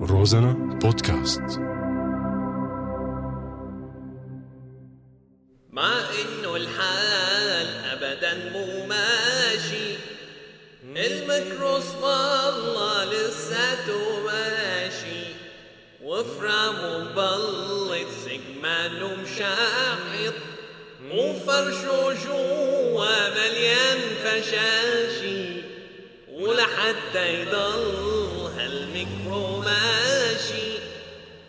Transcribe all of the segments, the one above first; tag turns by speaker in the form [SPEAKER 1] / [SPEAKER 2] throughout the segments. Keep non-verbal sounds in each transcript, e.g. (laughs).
[SPEAKER 1] روزانا بودكاست
[SPEAKER 2] مع انه الحال ابدا مو ماشي الميكروس والله لساته ماشي وفرامه مبلط سجمانه مشاحط وفرشه جوا مليان فشاشي ولحتى يضل هالميكرو ماشي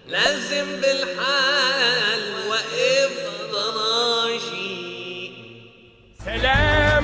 [SPEAKER 2] لازم بالحال وقف ضراشي
[SPEAKER 3] سلام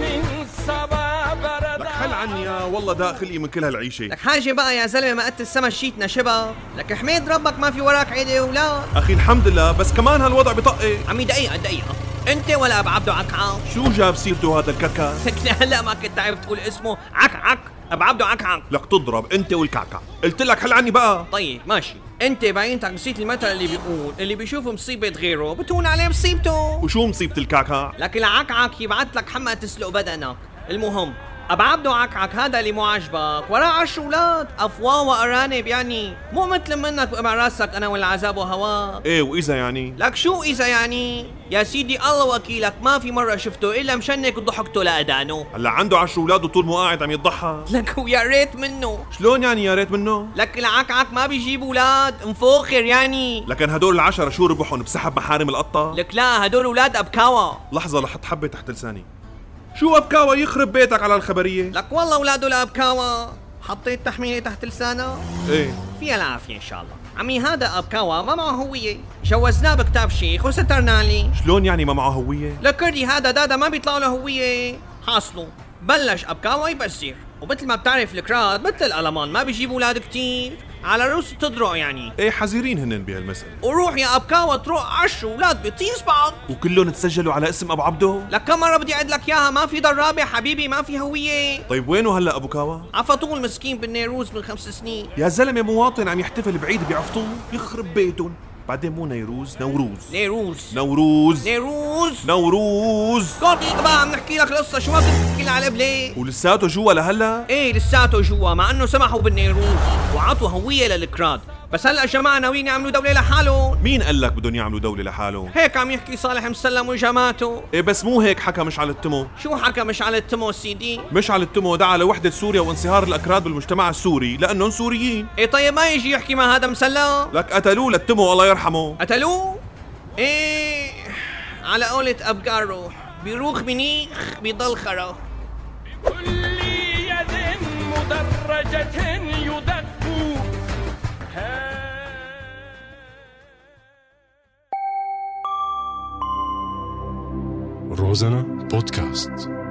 [SPEAKER 3] من صبا
[SPEAKER 4] لك
[SPEAKER 3] برد
[SPEAKER 4] حل عني يا والله داخلي من كل هالعيشة
[SPEAKER 5] لك حاجة بقى يا زلمة ما قد السما شيتنا شبا لك حميد ربك ما في وراك عيدة ولا
[SPEAKER 4] أخي الحمد لله بس كمان هالوضع بطقي
[SPEAKER 5] عمي دقيقة دقيقة انت ولا ابو عبده عكعة
[SPEAKER 4] شو جاب سيرته هذا الكركس
[SPEAKER 5] (laughs) لك هلا ما كنت عارف تقول اسمه عكعك ابو عبده عكعك
[SPEAKER 4] لك تضرب أنت والكعكع قلت لك حل عني بقى
[SPEAKER 5] طيب ماشي انت بعينتك نسيت المثل اللي بيقول اللي بيشوف مصيبة غيره بتهون عليه مصيبته
[SPEAKER 4] وشو مصيبة الكعكع
[SPEAKER 5] لكن العكعك يبعت لك حمى تسلق بدنك المهم ابو عبده عكعك هذا اللي مو عاجبك وراه عش اولاد افواه وارانب يعني مو مثل منك بقمع راسك انا والعذاب وهواك
[SPEAKER 4] إيه وإذا يعني
[SPEAKER 5] لك شو إذا يعني؟ يا سيدي الله وكيلك ما في مرة شفته إلا مشنك وضحكته لأدانه
[SPEAKER 4] هلا عنده عشر أولاد وطول ما قاعد عم يضحى
[SPEAKER 5] لك ويا ريت منه
[SPEAKER 4] شلون يعني يا ريت منه
[SPEAKER 5] لك العكعك ما بيجيب ولاد مفوخر يعني
[SPEAKER 4] لكن هدول العشرة شو ربحهم بسحب محارم القطة
[SPEAKER 5] لك لا هدول ولاد أبكاوا
[SPEAKER 4] لحظة لحط حبة تحت لساني شو أبكاوى يخرب بيتك على الخبرية
[SPEAKER 5] لك والله ولاده لأبكاوا حطيت تحميلة تحت لسانه
[SPEAKER 4] إيه
[SPEAKER 5] فيها العافية إن شاء الله عمي هذا أبكاوا ما معه هوية جوزناه بكتاب شيخ وسترنا عليه
[SPEAKER 4] شلون يعني ما معه هوية
[SPEAKER 5] لكردي هذا دادا ما بيطلع له هوية حاصله بلش أبكاوى يبزر ومثل ما بتعرف الكراد مثل الألمان ما بيجيبوا أولاد كتير على روس تدرع يعني
[SPEAKER 4] إيه حزيرين هنن بهالمسألة
[SPEAKER 5] وروح يا أبكاوى تروح عش أولاد بيطيس بعض
[SPEAKER 4] وكلهم تسجلوا على اسم أبو عبده
[SPEAKER 5] لك كم مرة بدي أعد لك إياها ما في ضرابة حبيبي ما في هوية
[SPEAKER 4] طيب وينه هلا أبو كاوى
[SPEAKER 5] عفطوه المسكين بالنيروز من خمس سنين
[SPEAKER 4] يا زلمه مواطن عم يحتفل بعيد بعفطون يخرب بيتهم بعدين مو نيروز نوروز
[SPEAKER 5] نيروز
[SPEAKER 4] نوروز
[SPEAKER 5] نيروز
[SPEAKER 4] نوروز
[SPEAKER 5] كورتيك بقى عم نحكي لك القصة شو ما بتحكي على ليه
[SPEAKER 4] ولساته جوا لهلا
[SPEAKER 5] ايه لساته جوا مع انه سمحوا بالنيروز وعطوا هويه للكراد بس هلا جماعه ناويين يعملوا دوله لحالهم
[SPEAKER 4] مين قال لك بدهم يعملوا دوله لحالهم
[SPEAKER 5] هيك عم يحكي صالح مسلم وجماعته
[SPEAKER 4] ايه بس مو هيك حكى مشعل التمو
[SPEAKER 5] شو حكى مشعل التمو سيدي
[SPEAKER 4] مشعل التمو دعا لوحدة سوريا وانصهار الأكراد بالمجتمع السوري لأنهم سوريين
[SPEAKER 5] ايه طيب ما يجي يحكي مع هذا مسلم
[SPEAKER 4] لك قتلوه للتمو الله يرحمه
[SPEAKER 5] قتلوه ايه على قولة ابقاره بيروخ منيخ بيضل خرا
[SPEAKER 3] كل يد مدرجة يدق
[SPEAKER 1] روزانا بودكاست